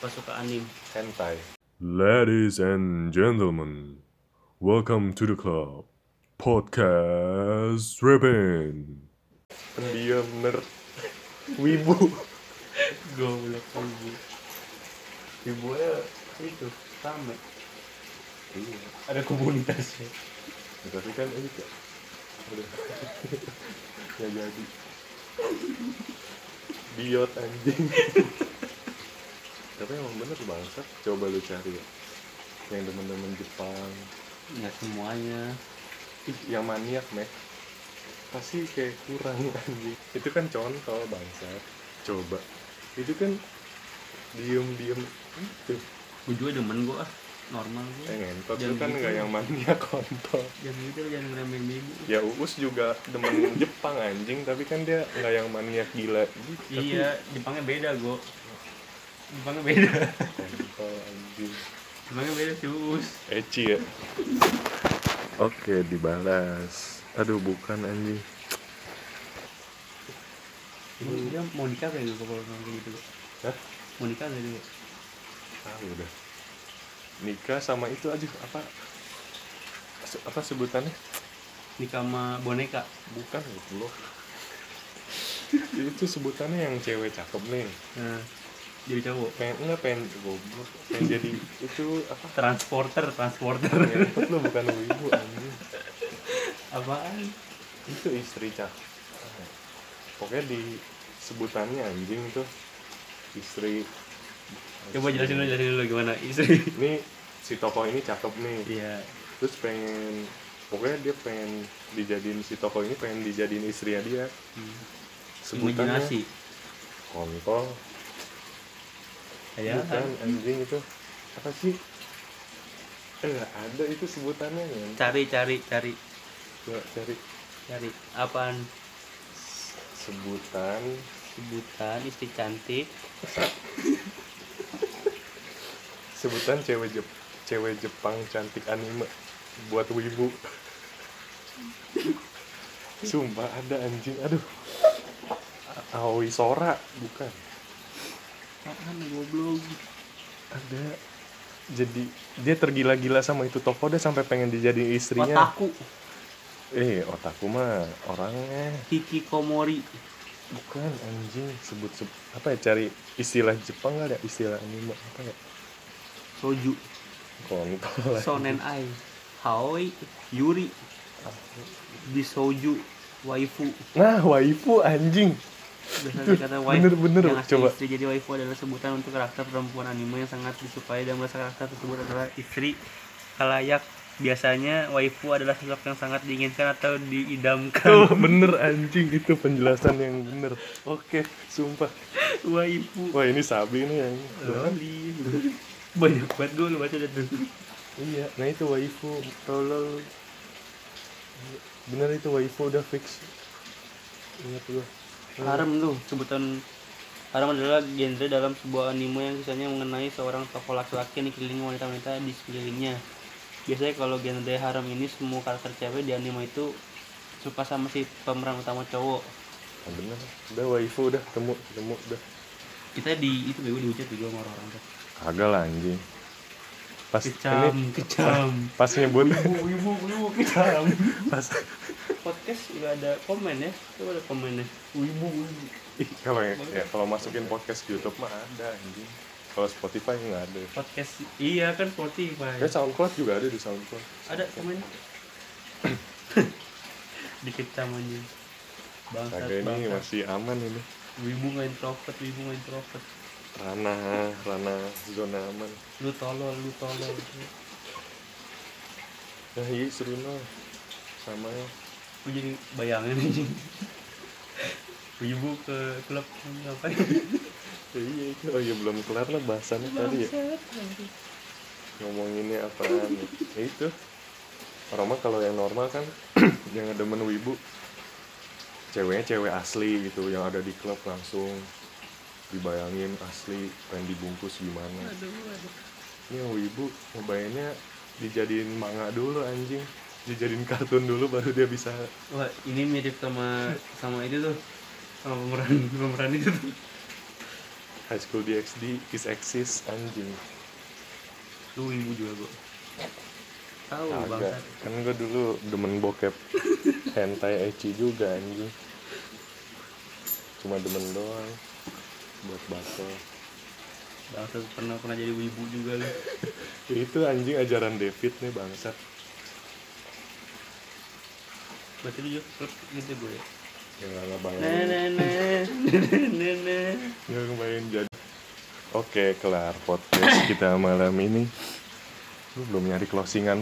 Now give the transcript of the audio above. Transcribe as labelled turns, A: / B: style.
A: Gua suka anime.
B: Hentai.
C: Ladies and gentlemen, welcome to the club. Podcast Ribbon.
B: Pendiam nerd. Wibu.
A: Goblok anjing.
B: Wibu ya.
A: Itu rame.
B: Iya.
A: Ada ya? komunitasnya.
B: Tapi kan ini ya. Udah. Gak jadi. Biot anjing. Tapi emang bener bangsat. Coba lu cari ya. Yang temen-temen Jepang.
A: Enggak Ya, semuanya.
B: Ih, yang maniak meh pasti kayak kurang anjing itu kan contoh bangsa coba itu kan diem diem itu
A: Gue juga demen gua ah. Normal gua.
B: yang ngentot itu
A: Jangan
B: kan
A: gitu.
B: nggak yang maniak kontol
A: Jangan gitu lu jangan ngeremehin ibu.
B: ya uus juga demen Jepang anjing tapi kan dia nggak yang maniak gila gitu
A: Iya, Jepangnya beda, Go. Jepangnya beda.
B: kontol anjing
A: Jepangnya beda sih, Us.
B: Eci ya oke dibalas aduh bukan anjing
A: Emang dia mau nikah kayak gitu kalau ngomong kayak gitu. Go?
B: Hah?
A: Mau nikah kayak gitu.
B: ah udah nikah sama itu aja apa se- apa sebutannya
A: Nikah sama boneka.
B: Bukan goblok. itu sebutannya yang cewek cakep nih.
A: Nah, jadi cowok.
B: Pengen enggak pengen goblok. Pengen jadi itu apa?
A: Transporter, transporter.
B: Ngentot lu bukan ibu anjing.
A: Apaan?
B: Itu istri cakep. Pokoknya di sebutannya anjing itu istri.
A: Coba jelasin dulu, jelasin dulu gimana istri.
B: Ini si tokoh ini cakep nih.
A: Iya.
B: Terus pengen pokoknya dia pengen dijadiin si tokoh ini pengen dijadiin istrinya dia.
A: Hmm.
B: Sebutannya
A: Imajinasi.
B: kontol.
A: Ya,
B: Bukan anjing itu apa sih? Eh ada itu sebutannya ya.
A: cari cari cari
B: Coba cari
A: cari apaan
B: sebutan
A: sebutan istri cantik
B: sebutan cewek Jep cewek Jepang cantik anime buat wibu. Sumpah ada anjing, aduh. A- Aoi Sora bukan.
A: apaan goblok
B: Ada jadi dia tergila-gila sama itu toko dia sampai pengen dijadiin istrinya.
A: otaku
B: Eh, otakku mah orangnya
A: hikikomori
B: Bukan anjing sebut sebut apa ya cari istilah Jepang gak ada istilah anime apa ya
A: soju
B: kontol lah.
A: sonen ai haoi yuri bisoju waifu
B: Nah waifu anjing
A: biasanya kata waifu
B: bener, bener,
A: yang asli
B: coba.
A: istri jadi waifu adalah sebutan untuk karakter perempuan anime yang sangat disukai dan merasa karakter tersebut adalah istri kalayak biasanya waifu adalah sosok yang sangat diinginkan atau diidamkan
B: Tuh bener anjing itu penjelasan yang bener. Oke sumpah.
A: waifu
B: Wah ini sabi nih yang
A: Loli kan banyak banget gue lu baca dah tuh
B: iya. Nah itu waifu tolol. Bener itu waifu udah fix. Ingat gua.
A: harem tuh sebutan harem adalah genre dalam sebuah anime yang kisahnya mengenai seorang tokoh laki-laki yang dikelilingi wanita-wanita di sekelilingnya biasanya kalau genre harem ini semua karakter cewek di anime itu suka sama si pemeran utama cowok
B: Nah, bener. Udah waifu udah temu temu udah.
A: kita di itu gue dihujat juga sama orang-orang tuh
B: Kagak lah anjing. Pas
A: kecam
B: ini
A: kecam
B: pas nyebut
A: ibu ibu ibu kecam
B: pas
A: podcast udah ada komen ya coba ada komennya ibu ibu
B: Ih, kalau ya, ya, kalau masukin podcast di YouTube mah ada anjing. Kalau Spotify nggak ada.
A: podcast iya kan Spotify
B: Ya SoundCloud juga ada di SoundCloud.
A: ada komen dikit aja bangsat
B: Kagak ini
A: bangsat
B: masih aman ini.
A: wibu nggak introvert wibu nggak introvert
B: Ranah, ranah zona aman.
A: lu tolol lu tolol
B: Nah, iya seru noh. Sama ya.
A: gue jadi bayangin aja wibu ke klub ngapain
B: Ya, iya, iya. oh iya belum kelar lah bahasannya tadi ya. Ngomonginnya apaan ya? Ya, itu. Orang mah kalau yang normal kan yang ada menu wibu ceweknya cewek asli gitu yang ada di klub langsung dibayangin asli pengen dibungkus gimana ini yang wibu ngebayangnya dijadiin manga dulu anjing dijadiin kartun dulu baru dia bisa
A: Wah, ini mirip sama sama itu tuh. Sama pemeran pemeran itu tuh.
B: High School DxD is exist anjing
A: Lu ibu juga gua. Tahu
B: Agak.
A: Oh, bangsat.
B: kan gue dulu demen bokep hentai ecchi juga anjing cuma demen doang buat bakso
A: Bangsat pernah pernah jadi ibu juga lu.
B: itu anjing ajaran David nih bangsat
A: Berarti lu juga klub gitu gue. ya?
B: ya nggak
A: Nah,
B: ngebayangin
A: nah, nah. Nah, nah, nah.
B: nggak ngebayangin jadi oke kelar podcast kita malam ini lu belum nyari closingan